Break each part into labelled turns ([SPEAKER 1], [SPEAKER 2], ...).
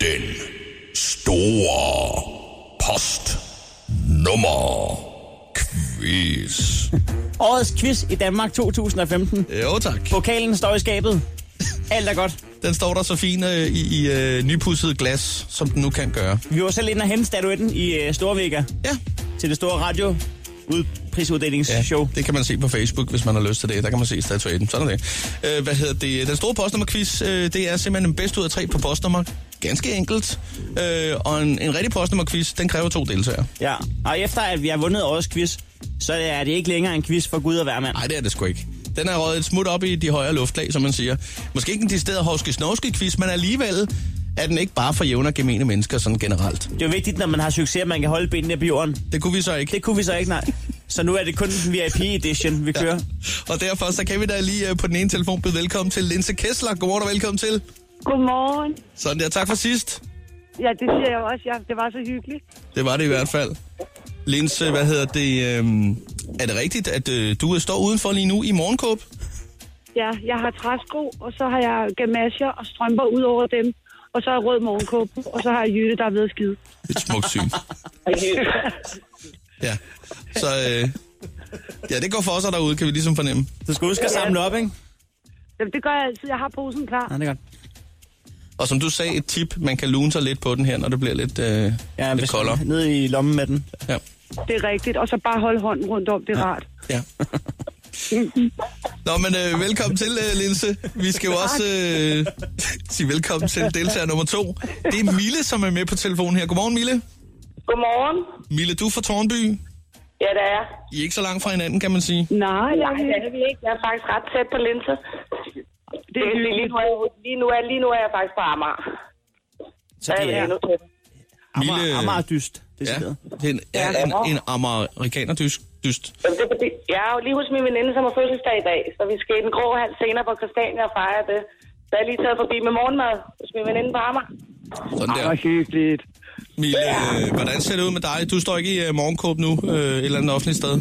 [SPEAKER 1] Den store post nummer quiz.
[SPEAKER 2] Årets quiz i Danmark 2015.
[SPEAKER 3] Jo Øh, tak.
[SPEAKER 2] Pokalen står i skabet. Alt er godt.
[SPEAKER 3] Den står der så fint øh, i, i øh, nypudset glas, som den nu kan gøre.
[SPEAKER 2] Vi var selv inde og hente statuetten i øh, Storvega
[SPEAKER 3] Ja,
[SPEAKER 2] til det store radio
[SPEAKER 3] ja
[SPEAKER 2] prisuddelingsshow.
[SPEAKER 3] det kan man se på Facebook, hvis man har lyst til det. Der kan man se statuetten. Sådan er det. Øh, hvad hedder det? Den store postnummerquiz, øh, det er simpelthen en bedst ud af tre på postnummer. Ganske enkelt. Øh, og en, en rigtig postnummerquiz, den kræver to deltagere.
[SPEAKER 2] Ja. Og efter at vi har vundet årets quiz, så er det ikke længere en quiz for Gud og hver mand.
[SPEAKER 3] Nej, det er det sgu ikke. Den er røget et smut op i de højere luftlag, som man siger. Måske ikke en decideret hovske snovske quiz, men alligevel er den ikke bare for jævne og gemene mennesker sådan generelt.
[SPEAKER 2] Det er jo vigtigt, når man har succes, at man kan holde benene på jorden.
[SPEAKER 3] Det kunne vi så ikke.
[SPEAKER 2] Det kunne vi så ikke, nej. Så nu er det kun den VIP-edition, vi kører.
[SPEAKER 3] Og derfor så kan vi da lige øh, på den ene telefon byde velkommen til Linse Kessler. Godmorgen og velkommen til.
[SPEAKER 4] Godmorgen.
[SPEAKER 3] Sådan der, tak for sidst.
[SPEAKER 4] Ja, det siger jeg jo også. Ja, det var så hyggeligt.
[SPEAKER 3] Det var det i hvert fald. Linse, hvad hedder det? øhm, er det rigtigt, at øh, du står udenfor lige nu i morgenkåb?
[SPEAKER 4] Ja, jeg har træsko, og så har jeg gamasjer og strømper ud over dem. Og så har jeg rød morgenkåb, og så har jeg Jytte, der er ved at skide.
[SPEAKER 3] Et smukt syn. Ja, så øh, ja, det går for sig derude, kan vi ligesom fornemme.
[SPEAKER 2] Du skal huske at samle op, ikke?
[SPEAKER 4] Jamen, det gør jeg altid. Jeg har posen klar.
[SPEAKER 2] Ja, det er godt.
[SPEAKER 3] Og som du sagde, et tip, man kan lune sig lidt på den her, når det bliver lidt, øh, ja, lidt
[SPEAKER 2] hvis-
[SPEAKER 3] koldere.
[SPEAKER 2] Ned i lommen med den.
[SPEAKER 3] Ja.
[SPEAKER 4] Det er rigtigt. Og så bare holde hånden rundt om. Det er rart.
[SPEAKER 3] Ja. Nå, men øh, velkommen til, øh, Linse. Vi skal jo også øh, sige velkommen til deltager nummer to. Det er Mille, som er med på telefonen her. Godmorgen, Mille.
[SPEAKER 5] Godmorgen.
[SPEAKER 3] Mille, du er fra Tornby.
[SPEAKER 5] Ja, det er jeg.
[SPEAKER 3] I er ikke så langt fra hinanden, kan man sige.
[SPEAKER 4] Nej, jeg
[SPEAKER 5] Nej, det er vi ikke. Jeg er faktisk ret tæt på Linse.
[SPEAKER 4] det
[SPEAKER 5] Det
[SPEAKER 4] er
[SPEAKER 5] er, lige,
[SPEAKER 4] hyggeligt.
[SPEAKER 5] nu er, lige, nu er, lige nu er jeg faktisk på Amager.
[SPEAKER 2] Så
[SPEAKER 5] Der
[SPEAKER 2] det
[SPEAKER 5] jeg
[SPEAKER 2] er
[SPEAKER 5] endnu tættere.
[SPEAKER 3] Mille-
[SPEAKER 2] Amager, Amager dyst. Det
[SPEAKER 3] Ja,
[SPEAKER 2] er ja.
[SPEAKER 3] det er en, er en, en amerikaner dyst. dyst.
[SPEAKER 5] Jamen, det er fordi, jeg er jo lige hos min veninde, som har fødselsdag i dag, så vi skal i den grå halv senere på Christiania og fejre det. Så jeg er lige taget forbi med morgenmad hos min veninde på Amager.
[SPEAKER 3] Sådan der.
[SPEAKER 4] hyggeligt.
[SPEAKER 3] Mille, øh, hvordan ser det ud med dig? Du står ikke i øh, morgenkåb nu øh, et eller andet offentligt sted.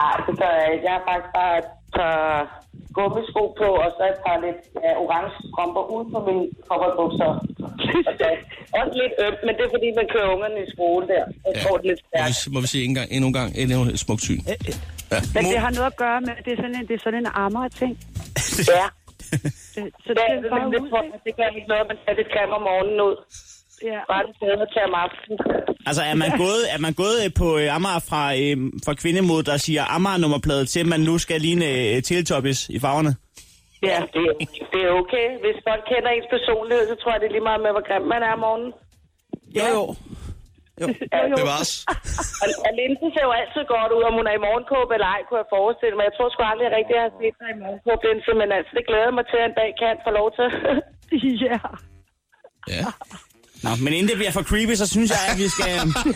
[SPEAKER 5] Nej, det gør jeg ikke. Jeg har faktisk bare et par gummisko på, og så et par lidt øh, orange strømper ud på mine kopperbukser. Og så også lidt ømt, men det er fordi, man kører ungerne i skole der. Jeg
[SPEAKER 3] Ja.
[SPEAKER 5] ja. får det lidt
[SPEAKER 3] Må vi,
[SPEAKER 5] stærkt.
[SPEAKER 3] må vi sige en gang, endnu en gang, endnu et smukt syn. Ja.
[SPEAKER 4] Men det har noget at gøre med, at det er sådan en, det er sådan en amager-ting.
[SPEAKER 5] Ja.
[SPEAKER 4] Så, så
[SPEAKER 5] Ja,
[SPEAKER 4] det
[SPEAKER 5] det,
[SPEAKER 4] er bare
[SPEAKER 5] det, det,
[SPEAKER 4] ud,
[SPEAKER 5] tror
[SPEAKER 4] ikke?
[SPEAKER 5] jeg, det gør ikke noget, at man tager det kamera om morgenen ud.
[SPEAKER 4] Ja.
[SPEAKER 5] Bare det bedre til om aftenen.
[SPEAKER 2] Altså, er man gået, er man gået øh, på øh, Amager fra, øh, fra kvindemod, der siger Amager-nummerplade til, at man nu skal ligne øh, Teletubbies i farverne?
[SPEAKER 5] Ja, det, er- det er okay. Hvis folk kender ens personlighed, så tror jeg, det er lige meget med, hvor grim man er om morgenen.
[SPEAKER 2] Jo, jo.
[SPEAKER 3] Bevares.
[SPEAKER 5] Og, og Linse ser jo altid godt ud, om hun er i morgenkåb eller ej, kunne jeg forestille mig. Jeg tror sgu aldrig rigtig, jeg har set dig i morgenkåb, Linse, men altså, det glæder jeg mig til, at en dag kan få lov til.
[SPEAKER 4] Ja.
[SPEAKER 3] Ja.
[SPEAKER 2] Nå, men inden det bliver for creepy, så synes jeg, at vi skal øh,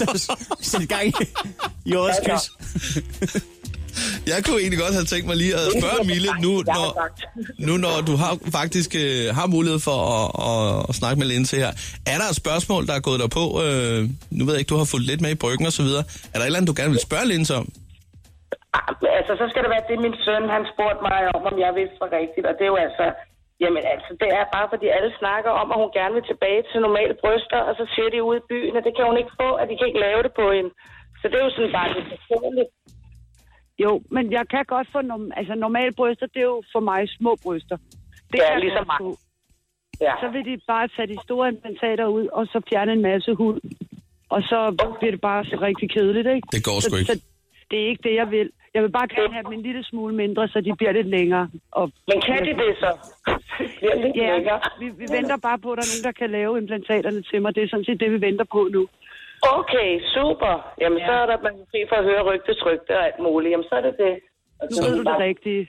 [SPEAKER 2] så- så- sætte gang i, i årets
[SPEAKER 5] Ja,
[SPEAKER 2] quiz.
[SPEAKER 3] Jeg kunne egentlig godt have tænkt mig lige at spørge Mille, nu
[SPEAKER 5] Jeg har
[SPEAKER 3] når,
[SPEAKER 5] sagt.
[SPEAKER 3] nu når du har, faktisk øh, har mulighed for at, at, at snakke med Linse her. Er der et spørgsmål, der er gået dig på? Øh, nu ved jeg ikke, du har fulgt lidt med i bryggen og så videre. Er der et eller andet, du gerne vil spørge Linse om?
[SPEAKER 5] Ah, men altså, så skal det være det, min søn, han spurgte mig om, om jeg vidste var rigtigt, og det er jo altså... Jamen altså, det er bare fordi alle snakker om, at hun gerne vil tilbage til normale bryster, og så siger de ude i byen, at det kan hun ikke få, at de kan ikke lave det på hende. Så det er jo sådan bare lidt personligt.
[SPEAKER 4] Jo, men jeg kan godt få... Norm- altså, normale bryster, det er jo for mig små bryster. Det
[SPEAKER 5] Ja,
[SPEAKER 4] kan jeg
[SPEAKER 5] ligesom
[SPEAKER 4] godt
[SPEAKER 5] mig.
[SPEAKER 4] få.
[SPEAKER 5] Ja.
[SPEAKER 4] så vil de bare tage de store implantater ud, og så fjerne en masse hud. Og så bliver det bare så rigtig kedeligt, ikke?
[SPEAKER 3] Det går sgu
[SPEAKER 4] så,
[SPEAKER 3] ikke.
[SPEAKER 4] Så det er ikke det, jeg vil. Jeg vil bare gerne have dem en lille smule mindre, så de bliver lidt længere. Og,
[SPEAKER 5] Men kan de det så? Bliver lidt
[SPEAKER 4] Ja,
[SPEAKER 5] lækker.
[SPEAKER 4] vi, vi venter bare på, at der er nogen, der kan lave implantaterne til mig. Det er sådan set det, vi venter på nu.
[SPEAKER 5] Okay, super. Jamen, så er der man er fri for at høre rygtes rygte og alt muligt. Jamen, så er det det. Og
[SPEAKER 4] Nu
[SPEAKER 5] så,
[SPEAKER 4] ved du det rigtige.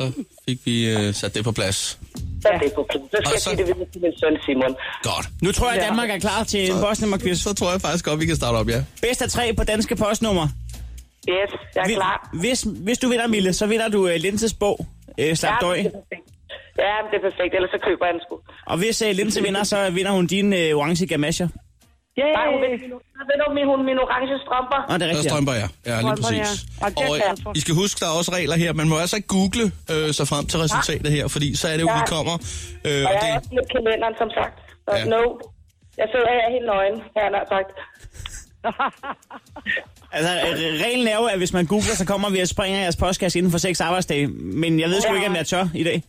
[SPEAKER 3] Så fik vi øh, sat det på plads.
[SPEAKER 5] Så er det på plads. Så skal
[SPEAKER 3] Og
[SPEAKER 5] jeg
[SPEAKER 3] så-
[SPEAKER 5] sige det videre til min søn Simon.
[SPEAKER 3] Godt.
[SPEAKER 2] Nu tror jeg, at Danmark er klar til en postnummerquiz.
[SPEAKER 3] Så tror jeg faktisk godt, vi kan starte op, ja.
[SPEAKER 2] Bedst af tre på danske postnummer.
[SPEAKER 5] Yes, jeg er
[SPEAKER 2] Hvis-
[SPEAKER 5] klar.
[SPEAKER 2] Hvis, hvis du vinder, Mille, så vinder du uh, Linses bog, uh, Slap
[SPEAKER 5] Ja,
[SPEAKER 2] Døg.
[SPEAKER 5] men det er perfekt. Ja, men det er perfekt. Ellers så køber jeg den sgu.
[SPEAKER 2] Og hvis uh, Linse vinder, så vinder hun dine uh, orange gamasher.
[SPEAKER 4] Yay!
[SPEAKER 5] Nej, hun vil, så vil hun min, hun min orange strømper.
[SPEAKER 2] Nå, det er
[SPEAKER 3] Så
[SPEAKER 2] rigtigt.
[SPEAKER 3] strømper jeg. Ja, lige
[SPEAKER 4] Strømper,
[SPEAKER 3] præcis.
[SPEAKER 4] ja. Og det er
[SPEAKER 3] Og
[SPEAKER 4] jeg glad for.
[SPEAKER 3] øh, I skal huske, der er også regler her. Man må altså ikke google øh, sig frem til resultatet her, fordi så er det jo, vi kommer. Øh, og
[SPEAKER 5] Og jeg er
[SPEAKER 3] det,
[SPEAKER 5] også lidt kalenderen, som sagt. Så
[SPEAKER 3] Ja.
[SPEAKER 5] ja. no. Jeg sidder her helt nøgen, har jeg nær sagt.
[SPEAKER 2] Altså, øh, reglen er jo, at hvis man googler, så kommer vi og springer jeres postkasse inden for seks arbejdsdage. Men jeg ved sgu ikke, om jeg tør i dag.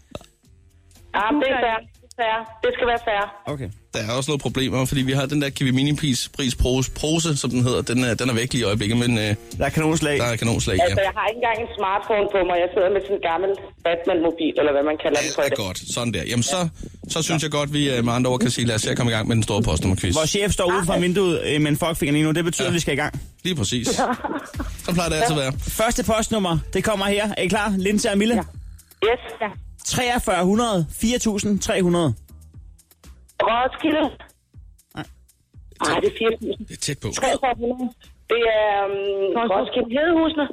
[SPEAKER 5] Ja, men Ah, det er fair. Det er fair. Det skal være fair.
[SPEAKER 2] Okay.
[SPEAKER 3] Der er også noget problemer, fordi vi har den der Kiwi Mini Pris, pris pose, pose, som den hedder. Den er, den er væk lige i øjeblikket, men øh,
[SPEAKER 2] Der er kanonslag.
[SPEAKER 3] der er kanonslag. Ja.
[SPEAKER 5] Altså, jeg har ikke engang en smartphone på mig. Jeg sidder med sådan en gammel Batman-mobil, eller hvad man kalder den
[SPEAKER 3] Det
[SPEAKER 5] for
[SPEAKER 3] er
[SPEAKER 5] det.
[SPEAKER 3] godt. Sådan der. Jamen så, så synes jeg godt, vi øh, med andre ord kan sige, lad os se at komme i gang med den store postnummerquiz.
[SPEAKER 2] Vores chef står ude fra vinduet øh, med en fuckfinger lige nu. Det betyder,
[SPEAKER 3] Ja.
[SPEAKER 2] at vi skal i gang.
[SPEAKER 3] Lige præcis. Så plejer det altid at være.
[SPEAKER 2] Første postnummer, det kommer her. Er I klar? Linse og Mille. Ja.
[SPEAKER 5] Yes. Ja.
[SPEAKER 2] 4300 4300.
[SPEAKER 5] Roskilde.
[SPEAKER 2] Nej.
[SPEAKER 5] Nej, det er 4.000.
[SPEAKER 3] Det er tæt på.
[SPEAKER 5] 3.500. Det er um, Roskilde Hedehusene.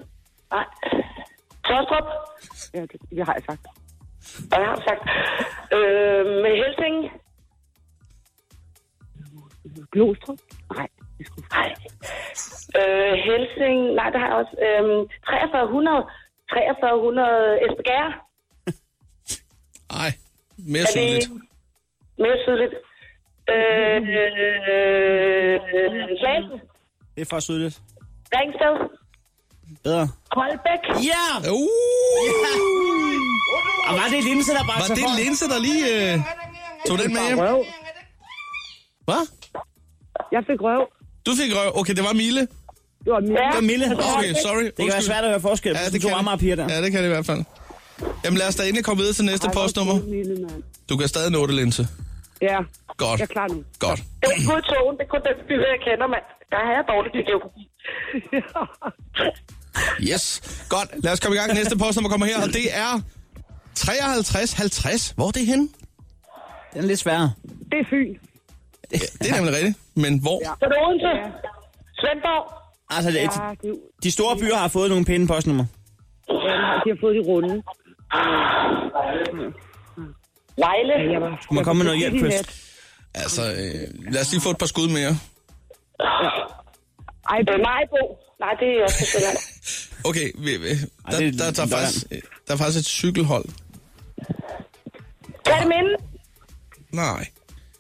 [SPEAKER 5] Nej. Tostrup.
[SPEAKER 6] Ja, det, det har jeg sagt.
[SPEAKER 5] Og jeg har sagt. Øh, med Helsing.
[SPEAKER 6] Glostrup? Nej, det skulle
[SPEAKER 5] Nej. Øh, Helsing. Nej, det har jeg også. Øh, 4300. 4300 Esbjerg.
[SPEAKER 3] Ej, mere
[SPEAKER 5] Er det
[SPEAKER 3] synligt.
[SPEAKER 5] mere sydligt? Øh, øh, Slagelse.
[SPEAKER 2] Det er for sydligt.
[SPEAKER 5] Ringsted.
[SPEAKER 2] Bedre.
[SPEAKER 5] Koldbæk.
[SPEAKER 2] Ja!
[SPEAKER 3] Uh,
[SPEAKER 2] Og var det Linse, der bare
[SPEAKER 3] var det Linse, der lige øh, tog den med hjem?
[SPEAKER 6] røv.
[SPEAKER 3] Hvad?
[SPEAKER 6] Jeg fik røv.
[SPEAKER 3] Du fik røv. Okay, det var Mille.
[SPEAKER 6] Det var min.
[SPEAKER 5] Ja.
[SPEAKER 2] Det var Mille.
[SPEAKER 3] Okay, sorry.
[SPEAKER 2] Det kan være svært at høre forskel på ja, to amager piger der.
[SPEAKER 3] Ja, det kan det i hvert fald. Jamen lad os da endelig komme videre til næste postnummer.
[SPEAKER 6] Mille, mand.
[SPEAKER 3] Du kan stadig nå det, Linse.
[SPEAKER 6] Ja,
[SPEAKER 3] Godt.
[SPEAKER 6] jeg er klar nu.
[SPEAKER 3] Godt.
[SPEAKER 5] Det er kun togen. Det er kun den by, jeg kender, mand. Der har jeg dårligt i geografi.
[SPEAKER 3] Yes. Godt. Lad os komme i gang. Næste postnummer kommer her, og det er 5350. Hvor er det henne?
[SPEAKER 2] Den er lidt sværere.
[SPEAKER 6] Det er Fyn.
[SPEAKER 3] Ja, det er nemlig rigtigt. Men hvor? Ja.
[SPEAKER 5] Så er det Odense. Svendborg.
[SPEAKER 2] Altså, det,
[SPEAKER 6] Ja, det,
[SPEAKER 2] de store byer har fået nogle pæne postnummer.
[SPEAKER 6] ja, Øh, de har fået de runde.
[SPEAKER 5] Vejle.
[SPEAKER 6] Ja, jeg var,
[SPEAKER 2] Du må komme med noget hjælp først.
[SPEAKER 3] Altså, øh, lad os lige få et par skud mere.
[SPEAKER 6] Ej,
[SPEAKER 5] Øh, Majbo. Nej, det er også på Sjælland.
[SPEAKER 3] Okay, vi, vi, der,
[SPEAKER 2] det er
[SPEAKER 3] der, der, er
[SPEAKER 2] Lolland.
[SPEAKER 3] faktisk, øh, der er faktisk et cykelhold.
[SPEAKER 5] Kan det minde?
[SPEAKER 3] Nej.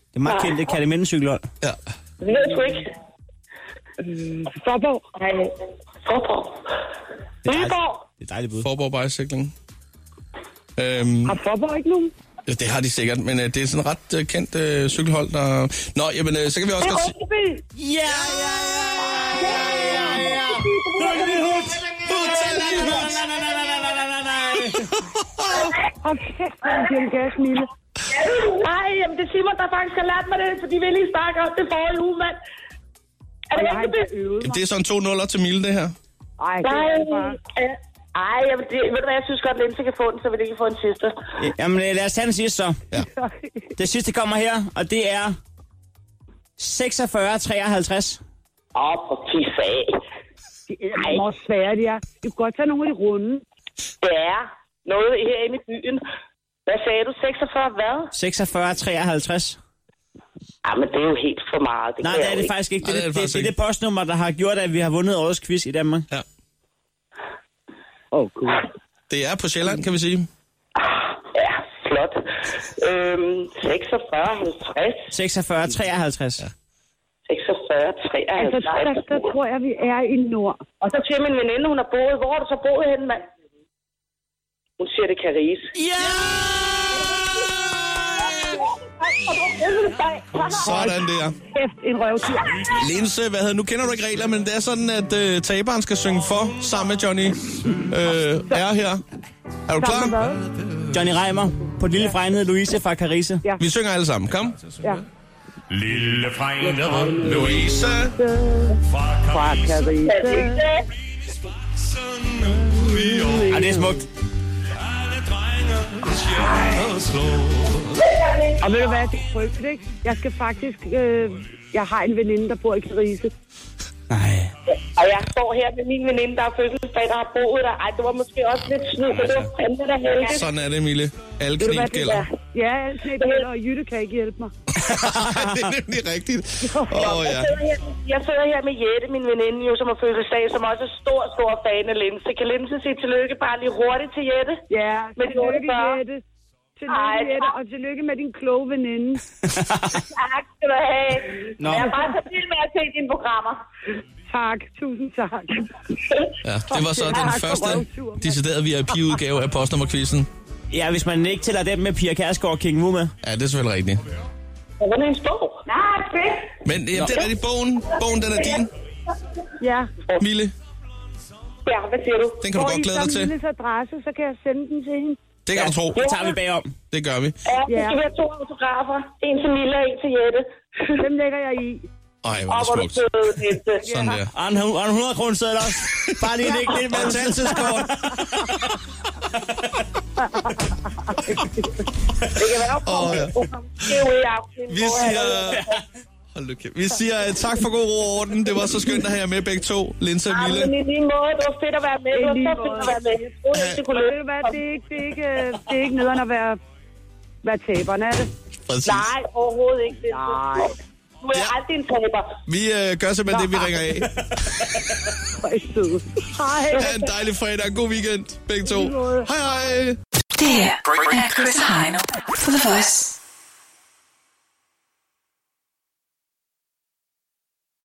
[SPEAKER 2] Det er meget kendt, det kan det minde cykelhold.
[SPEAKER 3] Ja.
[SPEAKER 5] Det ved jeg sgu ikke.
[SPEAKER 6] Forborg.
[SPEAKER 5] Nej. Forborg.
[SPEAKER 2] Det er
[SPEAKER 5] Nyborg.
[SPEAKER 2] dejligt, det er dejligt bud.
[SPEAKER 3] Forborg Bicycling. Øhm,
[SPEAKER 6] Har Forborg ikke nogen?
[SPEAKER 3] ja, det har de sikkert, men øh, det er sådan et ret øh, kendt øh, cykelhold, der... Nå, jamen, øh, så kan vi også
[SPEAKER 5] Det er
[SPEAKER 3] godt sige...
[SPEAKER 5] Rødby.
[SPEAKER 2] Ja, ja, ja, ja, ja, ja. Rødby Hut. Hut til Rødby Hut. Nej, nej, nej, nej, nej, nej, nej, nej.
[SPEAKER 6] Hold kæft, man giver gas, Mille.
[SPEAKER 5] Nej, jamen det er Simon, der faktisk har lært mig det, for de vil lige snakke om det forrige uge, mand. Er
[SPEAKER 6] Og
[SPEAKER 5] det
[SPEAKER 6] jeg har
[SPEAKER 5] Rødby?
[SPEAKER 6] ikke øvet
[SPEAKER 3] Jamen,
[SPEAKER 6] mig.
[SPEAKER 3] det er sådan to nuller til Mille, det her.
[SPEAKER 6] Ej, det
[SPEAKER 5] Nej.
[SPEAKER 6] er bare...
[SPEAKER 5] øh, Ej, jamen, det, ved du hvad, jeg synes godt, at Linse kan få den, så vil det ikke få en sidste.
[SPEAKER 2] Øh, Jamen, øh, lad os tage den sidste så.
[SPEAKER 3] Ja.
[SPEAKER 2] Det sidste kommer her, og det er 4653.
[SPEAKER 5] Åh, for pisse af.
[SPEAKER 6] Det er meget svært, ja. Du kan godt tage nogle af de runde.
[SPEAKER 5] Det er noget herinde i byen. Hvad sagde du? 46 hvad?
[SPEAKER 2] 4653.
[SPEAKER 5] Jamen, det er jo helt for meget. Det
[SPEAKER 2] Nej,
[SPEAKER 5] kan
[SPEAKER 2] det er
[SPEAKER 5] jeg
[SPEAKER 2] det
[SPEAKER 5] ikke.
[SPEAKER 2] faktisk ikke. Det,
[SPEAKER 3] Nej,
[SPEAKER 2] det, det, det, det er
[SPEAKER 3] ikke.
[SPEAKER 2] det postnummer, der har gjort, at vi har vundet årets quiz i Danmark.
[SPEAKER 3] ja.
[SPEAKER 6] Åh, oh, gud.
[SPEAKER 3] Det er på Sjælland, kan vi sige.
[SPEAKER 5] Ja, flot. Øhm, 46, 50,
[SPEAKER 2] 4653. Ja.
[SPEAKER 5] 46,
[SPEAKER 6] Altså,
[SPEAKER 5] 53.
[SPEAKER 6] der, der tror jeg, vi er i Nord.
[SPEAKER 5] Og så siger min veninde, hun har boet. Hvor har du så boet henne, mand? Hun siger, det kan riges.
[SPEAKER 3] Sådan der.
[SPEAKER 6] Kæft, en røvtur.
[SPEAKER 3] Linse, hvad hedder, nu kender du ikke regler, men det er sådan, at øh, taberen skal synge for sammen med Johnny øh, R her. Er du
[SPEAKER 6] Sammen med
[SPEAKER 3] klar?
[SPEAKER 6] hvad?
[SPEAKER 2] Johnny Reimer på Lille Fregnhed Louise fra Carise.
[SPEAKER 6] Ja.
[SPEAKER 3] Vi synger alle sammen. Kom.
[SPEAKER 6] Ja.
[SPEAKER 1] Lille Fregnede,
[SPEAKER 3] Louise.
[SPEAKER 6] Fra Carita.
[SPEAKER 5] Altså,
[SPEAKER 2] Og det er smukt.
[SPEAKER 6] Og ved du hvad, det er frygteligt, ikke? Jeg skal faktisk... Øh, jeg har en veninde, der bor i Karise.
[SPEAKER 2] Nej.
[SPEAKER 5] Og jeg står her med min veninde, der har fødselsdag, der har boet der. Ej, det var måske også lidt snyd, men det var fandme der heldigt.
[SPEAKER 3] Sådan er det, Mille. Alle
[SPEAKER 6] Ved du hvad,
[SPEAKER 3] knep
[SPEAKER 6] det
[SPEAKER 3] gælder.
[SPEAKER 6] er? Ja, knæb gælder, og Jytte kan ikke hjælpe mig.
[SPEAKER 3] Ej, det er nemlig rigtigt. Åh, oh,
[SPEAKER 5] Jeg
[SPEAKER 3] ja.
[SPEAKER 5] sidder, her, jeg sidder her med Jette, min veninde, jo, som har fødselsdag, som også er stor, stor fan af Linse. Kan Linse sige tillykke bare lige hurtigt til Jette?
[SPEAKER 6] Ja,
[SPEAKER 5] Men
[SPEAKER 6] men
[SPEAKER 5] det er
[SPEAKER 6] tillykke,
[SPEAKER 5] bare-
[SPEAKER 6] Jette.
[SPEAKER 4] Tillykke
[SPEAKER 5] Ej,
[SPEAKER 4] med det,
[SPEAKER 5] tak.
[SPEAKER 4] og tillykke med din kloge veninde.
[SPEAKER 5] Tak skal du have.
[SPEAKER 2] Nå.
[SPEAKER 5] Jeg er bare så vild med at se dine programmer.
[SPEAKER 4] Tak, tusind tak.
[SPEAKER 3] Ja, det var så
[SPEAKER 4] Jeg
[SPEAKER 3] den
[SPEAKER 4] har
[SPEAKER 3] første
[SPEAKER 4] røvtur, mand.
[SPEAKER 3] deciderede VIP-udgave af postnummerquizzen.
[SPEAKER 2] Ja, hvis man ikke tæller den med Pia Kærsgaard og King Wu med.
[SPEAKER 3] Ja, det er selvfølgelig rigtigt.
[SPEAKER 5] Og hvordan er en bog? Nej, fedt.
[SPEAKER 3] Men ja, det er rigtigt. Bogen, bogen den er din,
[SPEAKER 4] Ja.
[SPEAKER 3] Mille.
[SPEAKER 5] Ja, hvad siger du?
[SPEAKER 3] Den kan du
[SPEAKER 4] Får
[SPEAKER 3] godt
[SPEAKER 4] I
[SPEAKER 3] glæde
[SPEAKER 4] så
[SPEAKER 3] dig til.
[SPEAKER 4] Milles adresse, så kan jeg sende den til hende.
[SPEAKER 3] Det kan du tro.
[SPEAKER 2] Det tager vi bagom.
[SPEAKER 3] Det gør vi.
[SPEAKER 5] Ja, det
[SPEAKER 4] Ja.
[SPEAKER 5] skal være to autografer. En til Mille og en til Jette.
[SPEAKER 4] Dem lægger jeg i.
[SPEAKER 3] Ej, hvor
[SPEAKER 5] Og
[SPEAKER 3] er det
[SPEAKER 5] hvor du
[SPEAKER 3] smukt.
[SPEAKER 5] søde, Jette.
[SPEAKER 3] Sådan der.
[SPEAKER 2] Og en, hu- og en 100 kroner sædel også. Bare lige ikke det med en salgtidskort.
[SPEAKER 5] Det kan være op
[SPEAKER 3] Åh, ja.
[SPEAKER 5] Det er jo i aften.
[SPEAKER 3] øh, Vi siger... Hold nu kæft. Vi siger øh, tak for god ro og orden. Det var så skønt at have jer med begge to, Linse og
[SPEAKER 5] Jamen,
[SPEAKER 3] Mille.
[SPEAKER 5] i lige måde. Det var fedt at være med. Det
[SPEAKER 4] I
[SPEAKER 5] var
[SPEAKER 4] lige
[SPEAKER 5] så fedt at
[SPEAKER 4] måde.
[SPEAKER 5] være med. Jeg troede ikke, det kunne
[SPEAKER 4] Ved
[SPEAKER 5] løbe.
[SPEAKER 4] du hvad, det er ikke, det er ikke, øh, det er ikke nederen at være, være taberen, er det?
[SPEAKER 3] Præcis.
[SPEAKER 5] Nej, overhovedet ikke. Det.
[SPEAKER 4] Nej.
[SPEAKER 5] Du er
[SPEAKER 3] Ja.
[SPEAKER 5] aldrig en taber.
[SPEAKER 3] Vi øh, gør simpelthen det, vi ringer af.
[SPEAKER 4] Hvor er I søde. Hej.
[SPEAKER 3] Ha' en dejlig fredag og god weekend, begge to. Hej hej.
[SPEAKER 7] Det her er Chris Heino på The Voice.